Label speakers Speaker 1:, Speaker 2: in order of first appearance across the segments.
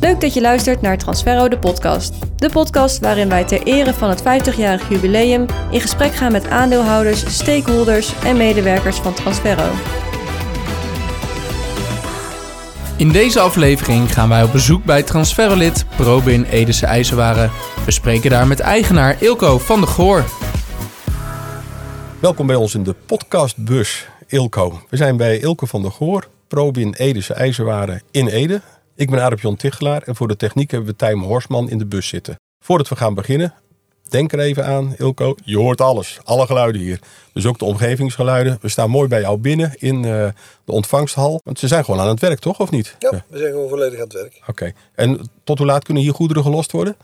Speaker 1: Leuk dat je luistert naar Transferro de podcast. De podcast waarin wij ter ere van het 50-jarig jubileum in gesprek gaan met aandeelhouders, stakeholders en medewerkers van Transferro.
Speaker 2: In deze aflevering gaan wij op bezoek bij Transferolid Probin Edese IJzerwaren. We spreken daar met eigenaar Ilko van de Goor.
Speaker 3: Welkom bij ons in de podcastbus, Ilko. We zijn bij Ilko van der Goor, Probin Edese IJzerwaren in Ede. Ik ben Arapjon Tichelaar en voor de techniek hebben we Tijm Horsman in de bus zitten. Voordat we gaan beginnen, denk er even aan, Ilko. Je hoort alles, alle geluiden hier. Dus ook de omgevingsgeluiden. We staan mooi bij jou binnen in eh, de ontvangsthal. Want ze zijn gewoon aan het werk, toch? Of niet? Eh,
Speaker 4: Ja, we zijn gewoon volledig aan het werk.
Speaker 3: Oké. En tot hoe laat kunnen hier goederen gelost worden?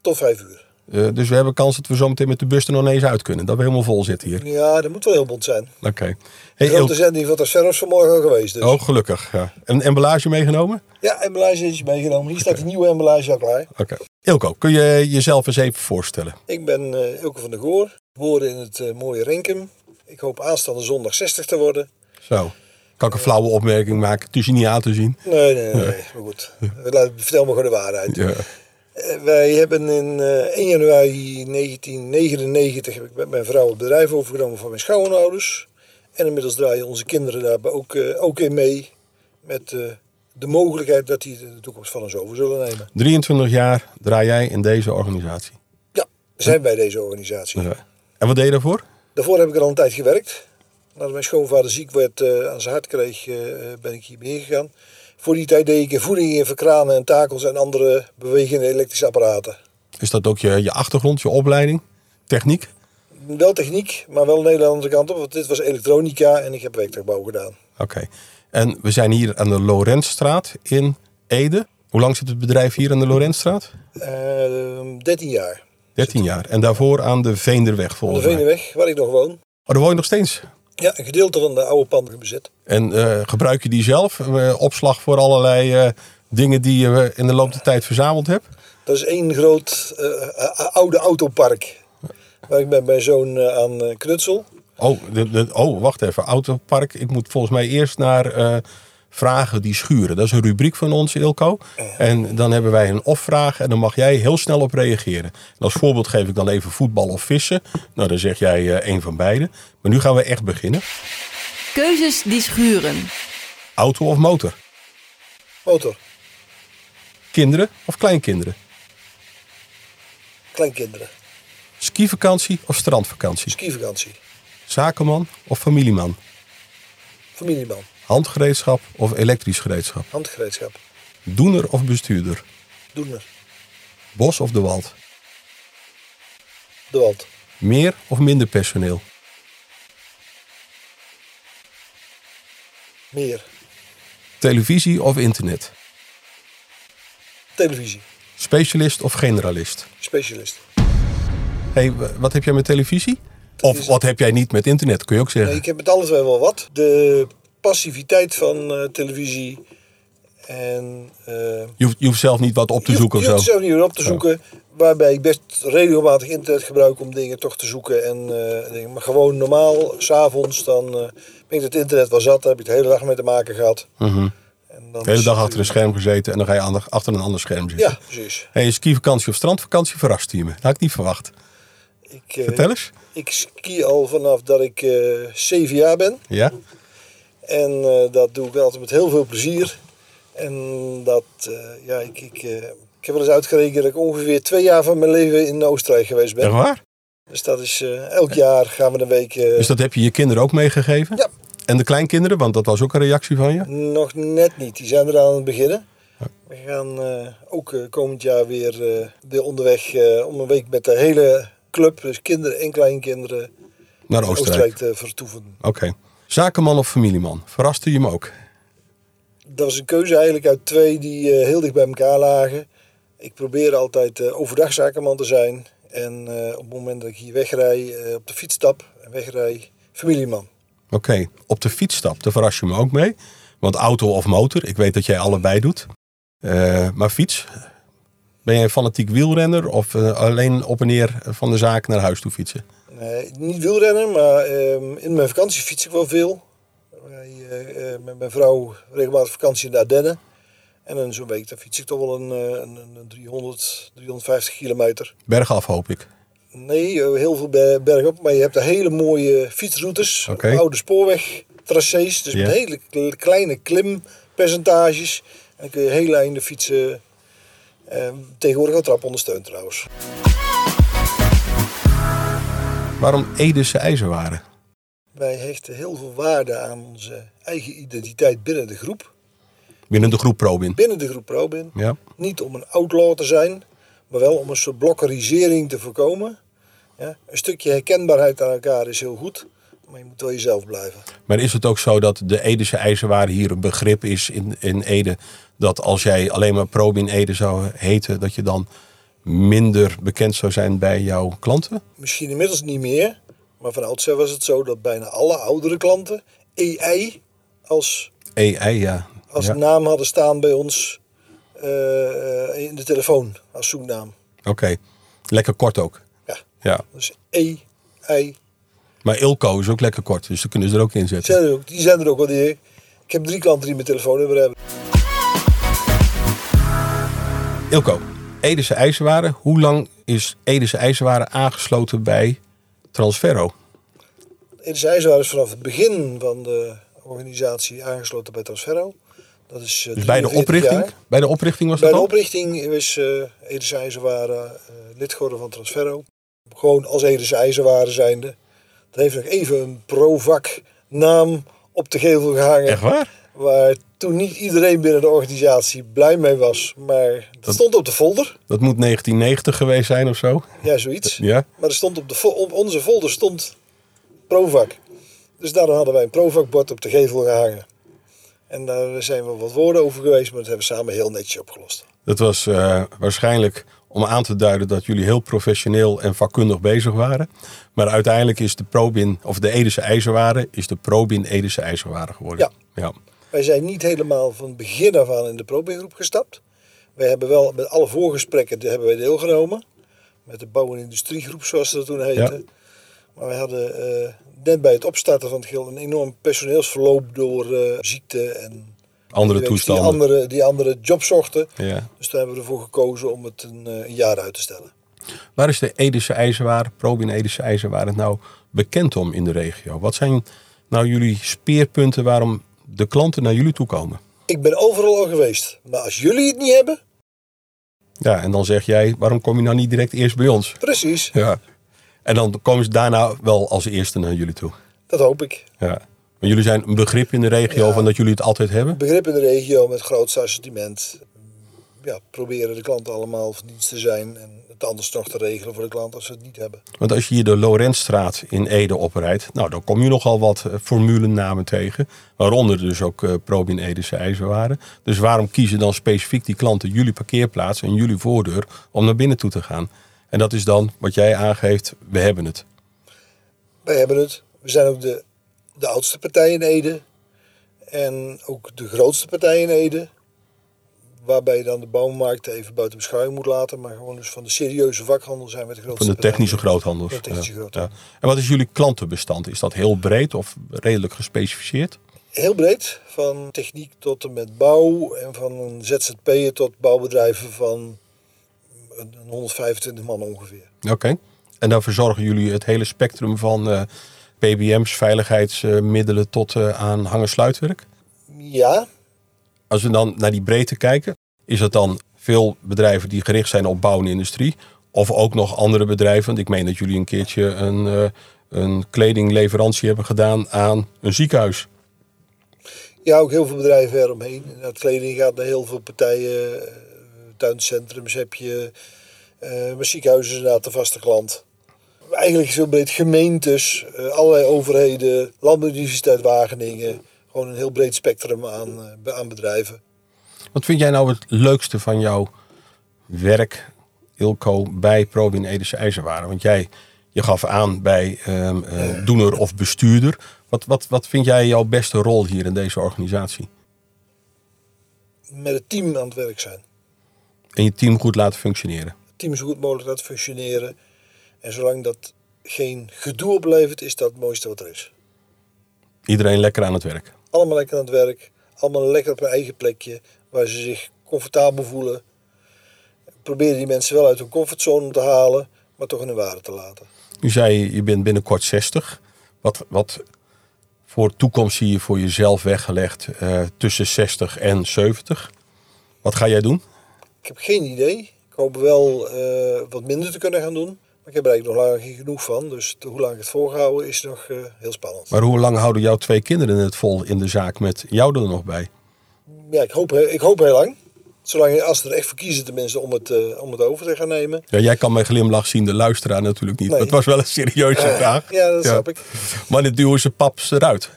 Speaker 4: Tot vijf uur.
Speaker 3: Eh, dus we hebben kans dat we zo meteen met de bus er nog ineens uit kunnen. Dat we helemaal vol zitten hier.
Speaker 4: Ja, dat moet wel heel bond zijn.
Speaker 3: Oké.
Speaker 4: De
Speaker 3: Hey,
Speaker 4: grote
Speaker 3: Ilko.
Speaker 4: zending van de Serros vanmorgen al geweest. Dus.
Speaker 3: Oh, gelukkig. Ja. Een emballage meegenomen?
Speaker 4: Ja, emballage is meegenomen. Hier staat de nieuwe emballage al klaar.
Speaker 3: Oké. Ilko, kun je jezelf eens even voorstellen?
Speaker 4: Ik ben eh Ilke van der Goor, geboren in het eh, mooie Renkum. Ik hoop aanstaande zondag 60 te worden.
Speaker 3: Zo. Kan ik een flauwe opmerking maken? Het is je niet aan te zien.
Speaker 4: Nee, nee, nee. Maar goed, We laten- vertel me gewoon de waarheid.
Speaker 3: Ja.
Speaker 4: Eh, Wij hebben in eh, 1 januari 1999 heb ik met mijn vrouw het bedrijf overgenomen van mijn schoonouders. En inmiddels draaien onze kinderen daar ook, eh, ook in mee. Met eh, de mogelijkheid dat die de toekomst van ons over zullen nemen.
Speaker 3: 23 jaar draai jij in deze organisatie.
Speaker 4: Ja, we zijn bij deze organisatie.
Speaker 3: Ja. En wat deed je daarvoor?
Speaker 4: Daarvoor heb ik er al een tijd gewerkt. Nadat mijn schoonvader ziek werd, eh, aan zijn hart kreeg, eh, ben ik hier meegegaan. Voor die tijd deed ik in voeding in verkranen en takels en andere bewegende elektrische apparaten.
Speaker 3: Is dat ook je, je achtergrond, je opleiding, techniek?
Speaker 4: Wel techniek, maar wel een hele andere kant op. Want dit was elektronica en ik heb werktuigbouw gedaan.
Speaker 3: Oké. En we zijn hier aan de Lorentstraat in Ede. Hoe lang zit het bedrijf hier aan de Lorentstraat?
Speaker 4: Eh 13 jaar.
Speaker 3: 13 jaar. En daarvoor aan de Veenderweg
Speaker 4: Op de
Speaker 3: volgens mij.
Speaker 4: Veenenweg, waar ik nog woon.
Speaker 3: Oh, daar woon je nog steeds?
Speaker 4: Ja, een gedeelte van de oude panden bezit.
Speaker 3: En eh, gebruik je die zelf? Eh, opslag voor allerlei eh, dingen die je eh, in de loop der tijd verzameld hebt?
Speaker 4: Dat is één groot eh, eh, oude autopark. Waar ik met mijn zoon eh, aan eh, knutsel.
Speaker 3: Oh, de, de- oh, wacht even. Autopark. Ik moet volgens mij eerst naar eh, vragen die schuren. Dat is een rubriek van ons, Ilko. En dan hebben wij een of-vraag en dan mag jij heel snel op reageren. En als voorbeeld geef ik dan even voetbal of vissen. Nou, dan zeg jij eh één van beide. Maar nu gaan we echt beginnen.
Speaker 5: Keuzes die schuren.
Speaker 3: Auto of motor?
Speaker 4: Motor,
Speaker 3: Kinderen of kleinkinderen?
Speaker 4: kleinkinderen,
Speaker 3: Skivakantie of strandvakantie?
Speaker 4: skivakantie,
Speaker 3: Zakenman of familieman?
Speaker 4: familieman,
Speaker 3: Handgereedschap of elektrisch gereedschap?
Speaker 4: handgereedschap,
Speaker 3: Doener of bestuurder?
Speaker 4: doener,
Speaker 3: Bos of de wald?
Speaker 4: de wand.
Speaker 3: Meer of minder personeel?
Speaker 4: Meer,
Speaker 3: Televisie of internet?
Speaker 4: televisie,
Speaker 3: Specialist of generalist?
Speaker 4: specialist.
Speaker 3: hey, w- wat heb jij met televisie? Of wat heb jij niet met internet, kun je ook
Speaker 4: Nee,
Speaker 3: zeggen.
Speaker 4: Dus- Nou, ik heb met alles twee wel wat. De passiviteit van eh, televisie en... eh,
Speaker 3: Je hoeft, je hoeft zelf niet wat op te
Speaker 4: Je hoeft-
Speaker 3: zoeken of
Speaker 4: je
Speaker 3: zo.
Speaker 4: hoeft zelf niet meer op te zoeken. Waarbij ik best regelmatig internet gebruik om dingen toch te zoeken. En, eh, dingen. Maar gewoon normaal, s'avonds, dan eh, ben ik het internet wel zat. Daar heb ik de hele dag mee te maken gehad. En dan
Speaker 3: Mhm. De hele
Speaker 4: is
Speaker 3: dag
Speaker 4: het
Speaker 3: achter een scherm gezeten en dan ga je ander- achter een ander scherm zitten.
Speaker 4: Ja, precies.
Speaker 3: hey, skivakantie of strandvakantie verrast je me. Dat had ik niet verwacht.
Speaker 4: Ik, eh,
Speaker 3: Vertel eens.
Speaker 4: ik ski al vanaf dat ik eh 7 jaar ben.
Speaker 3: Ja?
Speaker 4: En eh, dat doe ik altijd met heel veel plezier. En dat, eh, ja, ik, ik, eh, ik heb wel eens uitgerekend dat ik ongeveer twee jaar van mijn leven in Oostenrijk geweest ben.
Speaker 3: Echt waar?
Speaker 4: Dus dat is, eh, elk jaar gaan we een week... eh,
Speaker 3: Dus dat heb je je kinderen ook meegegeven?
Speaker 4: Ja.
Speaker 3: En de kleinkinderen, want dat was ook een reactie van je?
Speaker 4: Nog net niet. Die zijn er aan het beginnen. We gaan eh, ook eh, komend jaar weer, eh, weer onderweg eh, om een week met de hele club, dus kinderen en kleinkinderen,
Speaker 3: Naar
Speaker 4: naar
Speaker 3: Oostenrijk.
Speaker 4: Oostenrijk te vertoeven.
Speaker 3: Oké. Zakenman of familieman? Verraste je me ook?
Speaker 4: Dat was een keuze eigenlijk uit twee die eh, heel dicht bij elkaar lagen. Ik probeer altijd eh, overdag zakenman te zijn. En eh, op het moment dat ik hier wegrij, eh, op de fiets stap en wegrij, familieman.
Speaker 3: Oké, op de fietsstap, daar verras je me ook mee. Want auto of motor, ik weet dat jij allebei doet. Eh, maar fiets, ben jij een fanatiek wielrenner of eh, alleen op en neer van de zaak naar huis toe fietsen?
Speaker 4: Nee, niet wielrennen, maar ehm, in mijn vakantie fiets ik wel veel. Wij, eh, eh, met mijn vrouw regelmatig vakantie in de Ardennen. En in zo'n week dan fiets ik toch wel een, eh, een, een- een 300, 350 kilometer.
Speaker 3: Bergaf hoop ik.
Speaker 4: Nee, eh, heel veel be- bergop. Maar je hebt de hele mooie fietsroutes.
Speaker 3: Oké.
Speaker 4: Oude spoorweg, tracés. Dus
Speaker 3: Ja.
Speaker 4: met hele kle- kleine klimpercentages. En dan kun je heel einde fietsen. Eh, tegenwoordig wel trap ondersteund trouwens.
Speaker 3: Waarom Edese IJzerwaren?
Speaker 4: Wij hechten heel veel waarde aan onze eigen identiteit binnen de groep.
Speaker 3: Binnen de groep Probin.
Speaker 4: Binnen de groep ProBin.
Speaker 3: Ja.
Speaker 4: Niet om een outlaw te zijn, maar wel om een soort blokkerisering te voorkomen. Ja, een stukje herkenbaarheid aan elkaar is heel goed, maar je moet wel jezelf blijven.
Speaker 3: Maar is het ook zo dat de Edese IJzerwaren hier een begrip is in, in Ede? Dat als jij alleen maar Probin Ede zou heten, dat je dan minder bekend zou zijn bij jouw klanten?
Speaker 4: Misschien inmiddels niet meer, maar van oudsher was het zo dat bijna alle oudere klanten EI als,
Speaker 3: EI, ja.
Speaker 4: als
Speaker 3: ja.
Speaker 4: naam hadden staan bij ons eh, eh, in de telefoon, als zoeknaam.
Speaker 3: Oké, lekker kort ook.
Speaker 4: Ja,
Speaker 3: Ja.
Speaker 4: dus EI
Speaker 3: Maar Ilko is ook lekker kort, dus dan kunnen ze er ook in zetten.
Speaker 4: Zijn er ook, die zijn er ook wel die. Ik heb drie klanten die mijn telefoonnummer hebben.
Speaker 3: Ilko, Edese IJzerwaren. Hoe lang is Edese IJzerwaren aangesloten bij Transferro?
Speaker 4: In Zijzwaar is vanaf het begin van de organisatie aangesloten bij Transferro. Dat is, eh,
Speaker 3: Dus bij de
Speaker 4: 43
Speaker 3: oprichting?
Speaker 4: jaar.
Speaker 3: Bij de oprichting was
Speaker 4: Bij
Speaker 3: dat
Speaker 4: de
Speaker 3: al?
Speaker 4: oprichting is eh Ede Zijzwaar eh, lid geworden van Transferro. Gewoon als Ede Zijzwaar zijnde. Dat heeft nog even een provak naam op de gevel gehangen.
Speaker 3: Echt waar?
Speaker 4: Waar toen niet iedereen binnen de organisatie blij mee was. Maar dat, stond op de folder.
Speaker 3: Dat moet 1990 geweest zijn of zo.
Speaker 4: Ja, zoiets.
Speaker 3: Ja?
Speaker 4: Maar er stond op, de, fo- op onze folder stond Provac. Dus daarom hadden wij een Provac-bord op de gevel gehangen. En daar zijn we wat woorden over geweest, maar dat hebben we samen heel netjes opgelost.
Speaker 3: Dat was eh, waarschijnlijk om aan te duiden dat jullie heel professioneel en vakkundig bezig waren. Maar uiteindelijk is de Probin, of de Edese IJzerwaren, is de Probin Edese IJzerwaren geworden. Ja. ja.
Speaker 4: Wij zijn niet helemaal van het begin af aan in de Probingroep gestapt. Wij hebben wel met alle voorgesprekken daar hebben wij deelgenomen. Met de bouw- en industriegroep, zoals dat toen heette.
Speaker 3: Ja.
Speaker 4: Maar wij hadden eh, net bij het opstarten van het geheel een enorm personeelsverloop door eh, ziekte en
Speaker 3: Andere
Speaker 4: die
Speaker 3: toestanden.
Speaker 4: andere, die andere job zochten.
Speaker 3: Ja.
Speaker 4: Dus daar hebben we ervoor gekozen om het een, eh, een jaar uit te stellen.
Speaker 3: Waar is de Edese IJzerwaar, Probin Edese IJzerwaar, het nou bekend om in de regio? Wat zijn nou jullie speerpunten waarom de klanten naar jullie toe komen?
Speaker 4: Ik ben overal al geweest. Maar als jullie het niet hebben,
Speaker 3: Ja, en dan zeg jij, waarom kom je nou niet direct eerst bij ons?
Speaker 4: precies,
Speaker 3: Ja. En dan komen ze daarna wel als eerste naar jullie toe.
Speaker 4: dat hoop ik.
Speaker 3: Ja. Maar jullie zijn een begrip in de regio
Speaker 4: Ja.
Speaker 3: van dat jullie het altijd hebben?
Speaker 4: Begrip in de regio met groot assortiment. Ja, proberen de klanten allemaal van dienst te zijn. En het anders nog te regelen voor de klant als ze het niet hebben.
Speaker 3: Want als je hier de Lorentstraat in Ede oprijdt, nou dan kom je nogal wat eh, formulenamen tegen. Waaronder dus ook eh, Probin Edese IJzerwaren. Dus waarom kiezen dan specifiek die klanten jullie parkeerplaats en jullie voordeur om naar binnen toe te gaan? En dat is dan wat jij aangeeft, we hebben het.
Speaker 4: Wij hebben het. We zijn ook de, de oudste partij in Ede. En ook de grootste partij in Ede. Waarbij je dan de bouwmarkt even buiten beschouwing moet laten. Maar gewoon dus van de serieuze vakhandel zijn we de grootste
Speaker 3: Van de
Speaker 4: partij.
Speaker 3: technische groothandels.
Speaker 4: Van de technische
Speaker 3: Ja,
Speaker 4: groothandel.
Speaker 3: ja. En wat is jullie klantenbestand? Is dat heel breed of redelijk gespecificeerd?
Speaker 4: Heel breed, van techniek tot en met bouw en van een ZZP'er tot bouwbedrijven van een een 125 man ongeveer.
Speaker 3: Oké. En dan verzorgen jullie het hele spectrum van eh, PBM's, veiligheidsmiddelen tot eh, aan hangen-sluitwerk?
Speaker 4: Ja,
Speaker 3: Als we dan naar die breedte kijken, is dat dan veel bedrijven die gericht zijn op bouw en industrie? Of ook nog andere bedrijven? Want ik meen dat jullie een keertje een, eh, een kledingleverantie hebben gedaan aan een ziekenhuis.
Speaker 4: ja, ook heel veel bedrijven eromheen. Inderdaad, kleding gaat naar heel veel partijen. eh, Tuincentrums heb je, eh, maar ziekenhuizen is inderdaad de vaste klant. Eigenlijk is het heel breed gemeentes, eh, allerlei overheden, Landbouwuniversiteit Wageningen. Gewoon een heel breed spectrum aan, eh, be- aan bedrijven.
Speaker 3: Wat vind jij nou het leukste van jouw werk, Ilko, bij Probin Edese IJzerwaren? Want jij je gaf aan bij ehm, eh, doener of bestuurder. Wat, wat, wat vind jij jouw beste rol hier in deze organisatie?
Speaker 4: Met het team aan het werk zijn.
Speaker 3: En je team goed laten functioneren.
Speaker 4: team zo goed mogelijk laat functioneren. En zolang dat geen gedoe oplevert, is dat het mooiste wat er is.
Speaker 3: Iedereen lekker aan het werk.
Speaker 4: Allemaal lekker aan het werk, allemaal lekker op hun eigen plekje, waar ze zich comfortabel voelen. Proberen die mensen wel uit hun comfortzone te halen, maar toch in hun waarde te laten.
Speaker 3: Nu zei je, je bent binnenkort 60. Wat, wat voor toekomst zie je voor jezelf weggelegd eh, tussen 60 en 70? Wat ga jij doen?
Speaker 4: Ik heb geen idee. Ik hoop wel eh, wat minder te kunnen gaan doen. Maar ik heb er eigenlijk nog lang geen genoeg van. Dus t- hoe lang ik het volgehouden is nog eh, heel spannend.
Speaker 3: Maar hoe lang houden jouw twee kinderen het vol in de zaak met jou er nog bij?
Speaker 4: Ja, ik hoop, ik hoop heel lang. Zolang als ze er echt voor kiezen tenminste om het, eh, om het over te gaan nemen.
Speaker 3: Ja, jij kan mijn glimlach zien, de luisteraar natuurlijk niet.
Speaker 4: Nee.
Speaker 3: Maar het was wel een serieuze vraag.
Speaker 4: Ja, dat snap ik.
Speaker 3: Maar dit duwen ze paps eruit.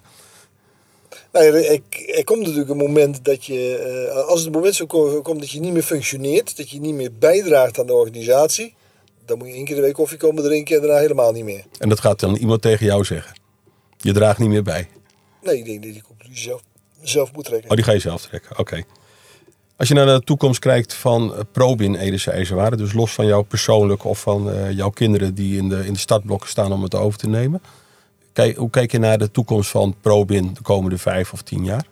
Speaker 4: Nou, ja, er, er- er komt natuurlijk een moment dat je, eh, als het moment zo ko- komt dat je niet meer functioneert, dat je niet meer bijdraagt aan de organisatie, dan moet je één keer de week koffie komen drinken en daarna helemaal niet meer.
Speaker 3: En dat gaat dan iemand tegen jou zeggen. Je draagt niet meer bij.
Speaker 4: Nee, ik denk dat je die conclusie zelf, zelf moet trekken.
Speaker 3: Oh, die ga je zelf trekken. Oké. Als je nou naar de toekomst kijkt van eh, Probin Edese IJzerwaren, dus los van jou persoonlijk of van eh, jouw kinderen die in de, in de startblokken staan om het over te nemen. Kijk, hoe kijk je naar de toekomst van Probin de komende vijf of tien jaar?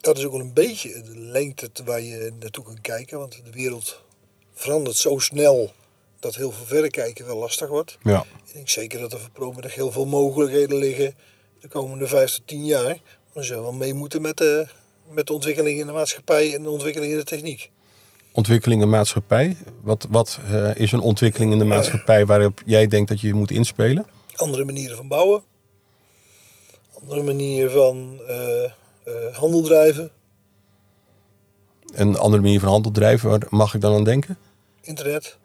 Speaker 4: Dat is ook wel een beetje de lengte te- waar je naartoe kunt kijken, want de wereld verandert zo snel dat heel veel verder kijken wel lastig wordt.
Speaker 3: Ja.
Speaker 4: Ik denk zeker dat er voor Promen nog heel veel mogelijkheden liggen de komende vijf tot tien jaar. Maar ze wel mee moeten met de, met de ontwikkeling in de maatschappij en de ontwikkeling in de techniek.
Speaker 3: Ontwikkeling in de maatschappij. Wat, wat eh, is een ontwikkeling in de maatschappij waarop jij denkt dat je moet inspelen?
Speaker 4: Andere manieren van bouwen. Andere manieren van eh, eh, handel drijven.
Speaker 3: Een andere manier van handel drijven, waar mag ik dan aan denken?
Speaker 4: Internet.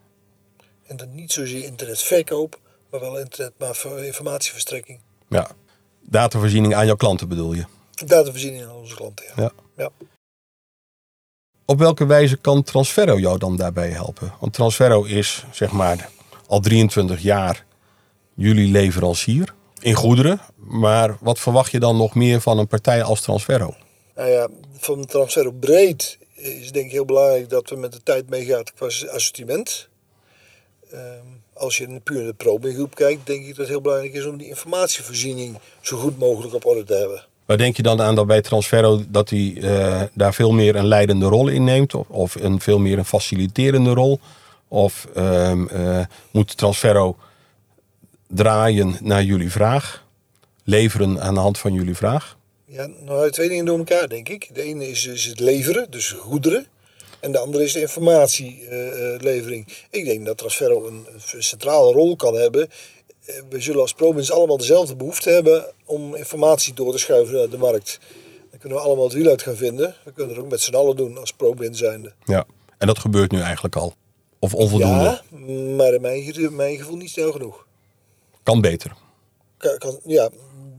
Speaker 4: En dan niet zozeer internetverkoop, maar wel internet, maar voor informatieverstrekking.
Speaker 3: Ja. Datavoorziening aan jouw klanten bedoel je?
Speaker 4: Datavoorziening aan onze klanten. Ja.
Speaker 3: Ja.
Speaker 4: Ja.
Speaker 3: Op welke wijze kan Transferro jou dan daarbij helpen? Want Transferro is zeg maar al 23 jaar jullie leverancier in goederen. Maar wat verwacht je dan nog meer van een partij als Transferro?
Speaker 4: Nou ja, van transfer op breed is denk ik heel belangrijk dat we met de tijd meegaat qua assortiment. Ehm, als je in- puur naar de probeergroep kijkt, denk ik dat het heel belangrijk is om die informatievoorziening zo goed mogelijk op orde te hebben.
Speaker 3: Waar denk je dan aan dat bij Transferro dat hij eh, daar veel meer een leidende rol in neemt? Of, of een veel meer een faciliterende rol? Of ehm, eh, moet Transferro draaien naar jullie vraag? Leveren aan de hand van jullie vraag?
Speaker 4: Ja, nou hou je twee dingen door elkaar, denk ik. De ene is, is het leveren, dus goederen. En de andere is de informatielevering. ik denk dat Transferro een, een centrale rol kan hebben. Eh, We zullen als ProMins allemaal dezelfde behoefte hebben om informatie door te schuiven naar de markt. Dan kunnen we allemaal het wiel uit gaan vinden. We kunnen het ook met z'n allen doen als ProMins zijnde.
Speaker 3: Ja, en dat gebeurt nu eigenlijk al. Of onvoldoende.
Speaker 4: Ja, maar in mijn, ge- mijn gevoel niet snel genoeg.
Speaker 3: Kan beter.
Speaker 4: Ka- kan- ja,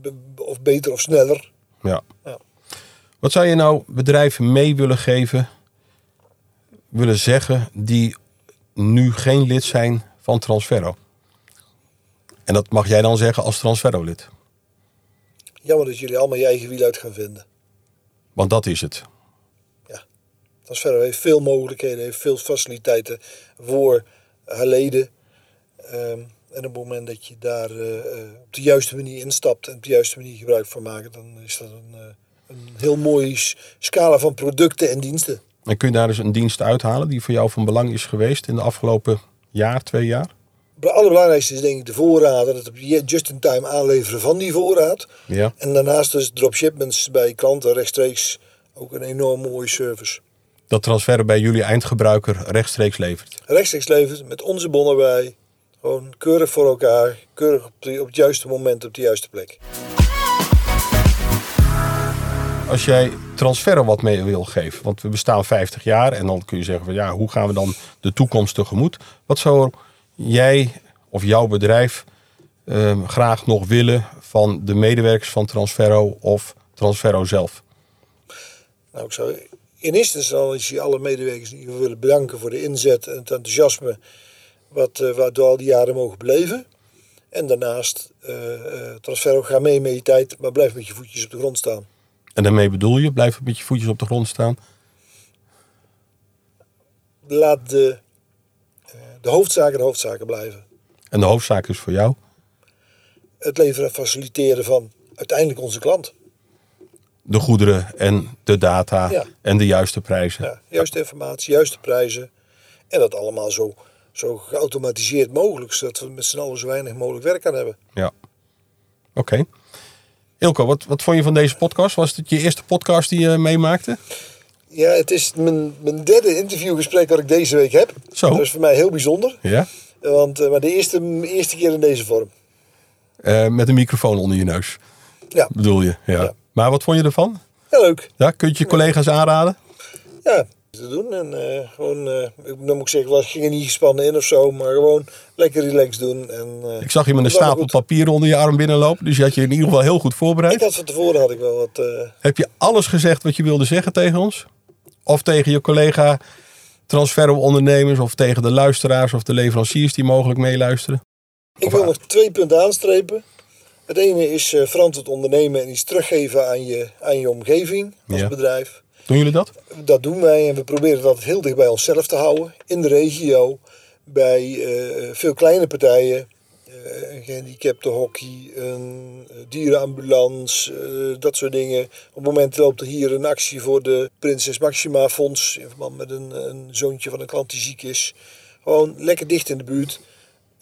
Speaker 4: be- be- of beter of sneller.
Speaker 3: Ja.
Speaker 4: Ja.
Speaker 3: Wat zou je nou bedrijven mee willen geven, willen zeggen, die nu geen lid zijn van Transferro? En dat mag jij dan zeggen als Transferro-lid.
Speaker 4: Jammer dat jullie allemaal je eigen wiel uit gaan vinden.
Speaker 3: Want dat is het.
Speaker 4: Transferro heeft veel mogelijkheden, heeft veel faciliteiten voor haar leden. Ehm, en op het moment dat je daar eh, eh, op de juiste manier instapt en op de juiste manier gebruik van maakt, dan is dat een, eh, een heel mooie s- scala van producten en diensten.
Speaker 3: En kun je daar dus een dienst uithalen die voor jou van belang is geweest in de afgelopen jaar, twee jaar?
Speaker 4: Het allerbelangrijkste is denk ik de voorraden, het op je- just-in-time aanleveren van die voorraad.
Speaker 3: Ja.
Speaker 4: En daarnaast dus dropshipments bij klanten rechtstreeks ook een enorm mooie service.
Speaker 3: Dat Transferro bij jullie eindgebruiker rechtstreeks levert.
Speaker 4: rechtstreeks levert met onze bonnen bij. Gewoon keurig voor elkaar, keurig op, de- op het juiste moment, op de juiste plek.
Speaker 3: als jij transferren wat mee wil geven? Want we bestaan 50 jaar en dan kun je zeggen van ja, hoe gaan we dan de toekomst tegemoet? Wat zou jij of jouw bedrijf ehm, graag nog willen van de medewerkers van Transferro of Transferro zelf?
Speaker 4: Nou, ik zou in eerste instantie alle medewerkers in ieder geval willen bedanken voor de inzet en het enthousiasme wat eh, we door al die jaren mogen beleven. En daarnaast, eh eh transfer, ga mee met je tijd, maar blijf met je voetjes op de grond staan.
Speaker 3: En daarmee bedoel je, blijf met je voetjes op de grond staan.
Speaker 4: Laat de, eh, de hoofdzaken de hoofdzaken blijven.
Speaker 3: En de hoofdzaak is voor jou
Speaker 4: Het leveren en faciliteren van uiteindelijk onze klant.
Speaker 3: de goederen en de data
Speaker 4: Ja.
Speaker 3: en de juiste prijzen.
Speaker 4: Ja, juiste informatie, juiste prijzen. En dat allemaal zo, zo geautomatiseerd mogelijk, zodat we met z'n allen zo weinig mogelijk werk aan hebben.
Speaker 3: Ja. Oké. Ilko, wat, wat vond je van deze podcast? Was het je eerste podcast die je meemaakte?
Speaker 4: Ja, het is mijn, mijn derde interviewgesprek dat ik deze week heb.
Speaker 3: Zo.
Speaker 4: Dat is voor mij heel bijzonder.
Speaker 3: Ja.
Speaker 4: Want, eh, maar de eerste, eerste keer in deze vorm.
Speaker 3: Eh, met een microfoon onder je neus,
Speaker 4: Ja,
Speaker 3: bedoel je? Ja.
Speaker 4: Ja.
Speaker 3: Maar wat vond je ervan?
Speaker 4: heel leuk.
Speaker 3: Ja, kun je het je collega's aanraden?
Speaker 4: Ja, te doen. En eh, gewoon, eh, ik, dan moet ik zeggen, ik ging er niet gespannen in of zo. Maar gewoon lekker relaxed doen. En, eh,
Speaker 3: Ik zag je met een
Speaker 4: dat was
Speaker 3: stapel
Speaker 4: goed.
Speaker 3: papieren onder je arm binnenlopen. Dus je had je in ieder geval heel goed voorbereid.
Speaker 4: Ik had van tevoren had ik wel wat... eh,
Speaker 3: Heb je alles gezegd wat je wilde zeggen tegen ons? Of tegen je collega transferondernemers of tegen de luisteraars of de leveranciers die mogelijk meeluisteren?
Speaker 4: Ik
Speaker 3: Of
Speaker 4: wil
Speaker 3: aan-
Speaker 4: nog twee punten aanstrepen. Het ene is eh, verantwoord ondernemen en iets teruggeven aan je, aan je omgeving als
Speaker 3: Ja.
Speaker 4: bedrijf.
Speaker 3: Doen jullie dat?
Speaker 4: Dat doen wij en we proberen dat heel dicht bij onszelf te houden. In de regio, bij eh, veel kleine partijen. eh een gehandicaptenhockey, een eh, dierenambulance, eh, dat soort dingen. Op het moment loopt er hier een actie voor de Prinses Maxima Fonds. In verband met een, een zoontje van een klant die ziek is. Gewoon lekker dicht in de buurt.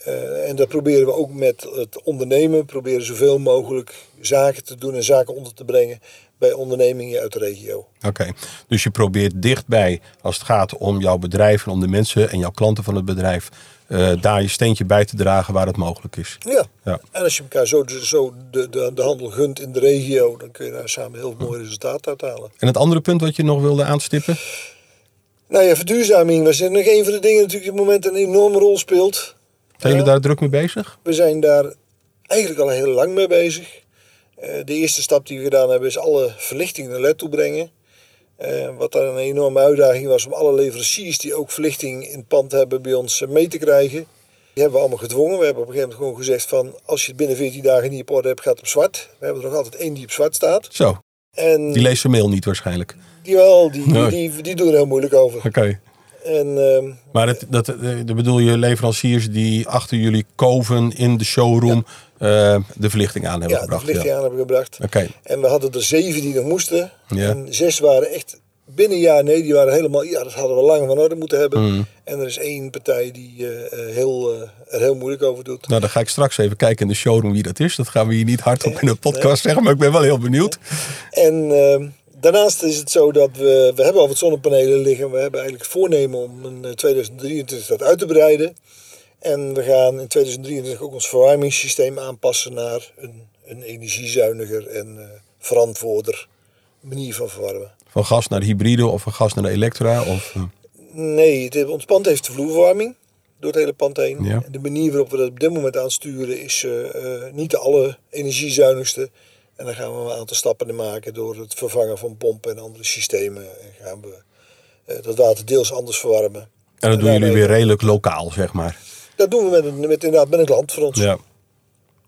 Speaker 4: Eh, en dat proberen we ook met het ondernemen. Proberen zoveel mogelijk zaken te doen en zaken onder te brengen bij ondernemingen uit de regio.
Speaker 3: Oké, dus je probeert dichtbij als het gaat om jouw bedrijf en om de mensen en jouw klanten van het bedrijf, eh, daar je steentje bij te dragen waar het mogelijk is.
Speaker 4: Ja.
Speaker 3: Ja.
Speaker 4: En als je elkaar zo, zo de, de, de handel gunt in de regio, dan kun je daar samen heel mooi resultaat uit halen.
Speaker 3: En het andere punt wat je nog wilde aanstippen?
Speaker 4: Nou ja, verduurzaming was nog een van de dingen natuurlijk op het moment een enorme rol speelt.
Speaker 3: Zijn jullie
Speaker 4: Ja.
Speaker 3: daar druk mee bezig?
Speaker 4: We zijn daar eigenlijk al heel lang mee bezig. Eh, de eerste stap die we gedaan hebben is alle verlichting naar LED toe brengen. Eh, wat daar een enorme uitdaging was om alle leveranciers die ook verlichting in het pand hebben bij ons eh, mee te krijgen. Die hebben we allemaal gedwongen. We hebben op een gegeven moment gewoon gezegd van als je het binnen 14 dagen niet op orde hebt, gaat het op zwart. We hebben er nog altijd één die op zwart staat.
Speaker 3: Zo,
Speaker 4: En
Speaker 3: die leest zijn mail niet waarschijnlijk.
Speaker 4: die wel, die,
Speaker 3: Nee.
Speaker 4: die, die doen er heel moeilijk over.
Speaker 3: Oké.
Speaker 4: En ehm,
Speaker 3: Maar het, dat, eh, dan bedoel je leveranciers die achter jullie koven in de showroom eh, de verlichting aan hebben
Speaker 4: ja, de
Speaker 3: gebracht?
Speaker 4: verlichting
Speaker 3: ja.
Speaker 4: aan hebben gebracht.
Speaker 3: Oké,
Speaker 4: En we hadden er zeven die nog moesten.
Speaker 3: Ja.
Speaker 4: En zes waren echt binnen een jaar, nee, die waren helemaal, ja, dat hadden we lang van orde moeten hebben.
Speaker 3: Mm.
Speaker 4: En er is één partij die eh, eh, heel, eh, er heel moeilijk over doet.
Speaker 3: nou dan ga ik straks even kijken in de showroom wie dat is. Dat gaan we hier niet hardop in de podcast zeggen, maar ik ben wel heel benieuwd.
Speaker 4: En ehm, daarnaast is het zo dat we, we hebben al wat zonnepanelen liggen. We hebben eigenlijk voornemen om in eh, 2023 dat uit te breiden. En we gaan in 2023 ook ons verwarmingssysteem aanpassen naar een, een energiezuiniger en eh, verantwoorder manier van verwarmen.
Speaker 3: Van gas naar hybride of van gas naar de elektra. Of, eh,
Speaker 4: Nee, het, ons pand heeft de vloerverwarming door het hele pand heen.
Speaker 3: Ja.
Speaker 4: En de manier waarop we dat op dit moment aansturen is eh, eh, niet de alle energiezuinigste. En daar gaan we een aantal stappen in maken door het vervangen van pompen en andere systemen. En gaan we eh, dat water deels anders verwarmen.
Speaker 3: en dat doen
Speaker 4: Daarbij-
Speaker 3: jullie weer redelijk lokaal, zeg maar.
Speaker 4: Dat doen we met, een- met, inderdaad met een klant voor ons.
Speaker 3: Ja.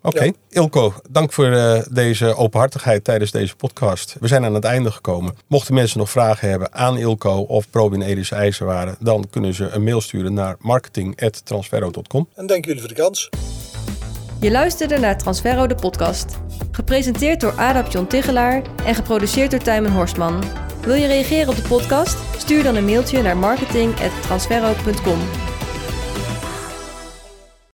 Speaker 3: Oké,
Speaker 4: Ja.
Speaker 3: Ilko, dank voor eh, deze openhartigheid tijdens deze podcast. We zijn aan het einde gekomen. Mochten mensen nog vragen hebben aan Ilko of Probin Edis IJzerwaren, dan kunnen ze een mail sturen naar marketing@transferro.com.
Speaker 4: En dank jullie voor de kans.
Speaker 1: Je luisterde naar Transferro de podcast. Gepresenteerd door Adap John Tigelaar en geproduceerd door Tijmen Horstman. Wil je reageren op de podcast? Stuur dan een mailtje naar marketing.transferro.com.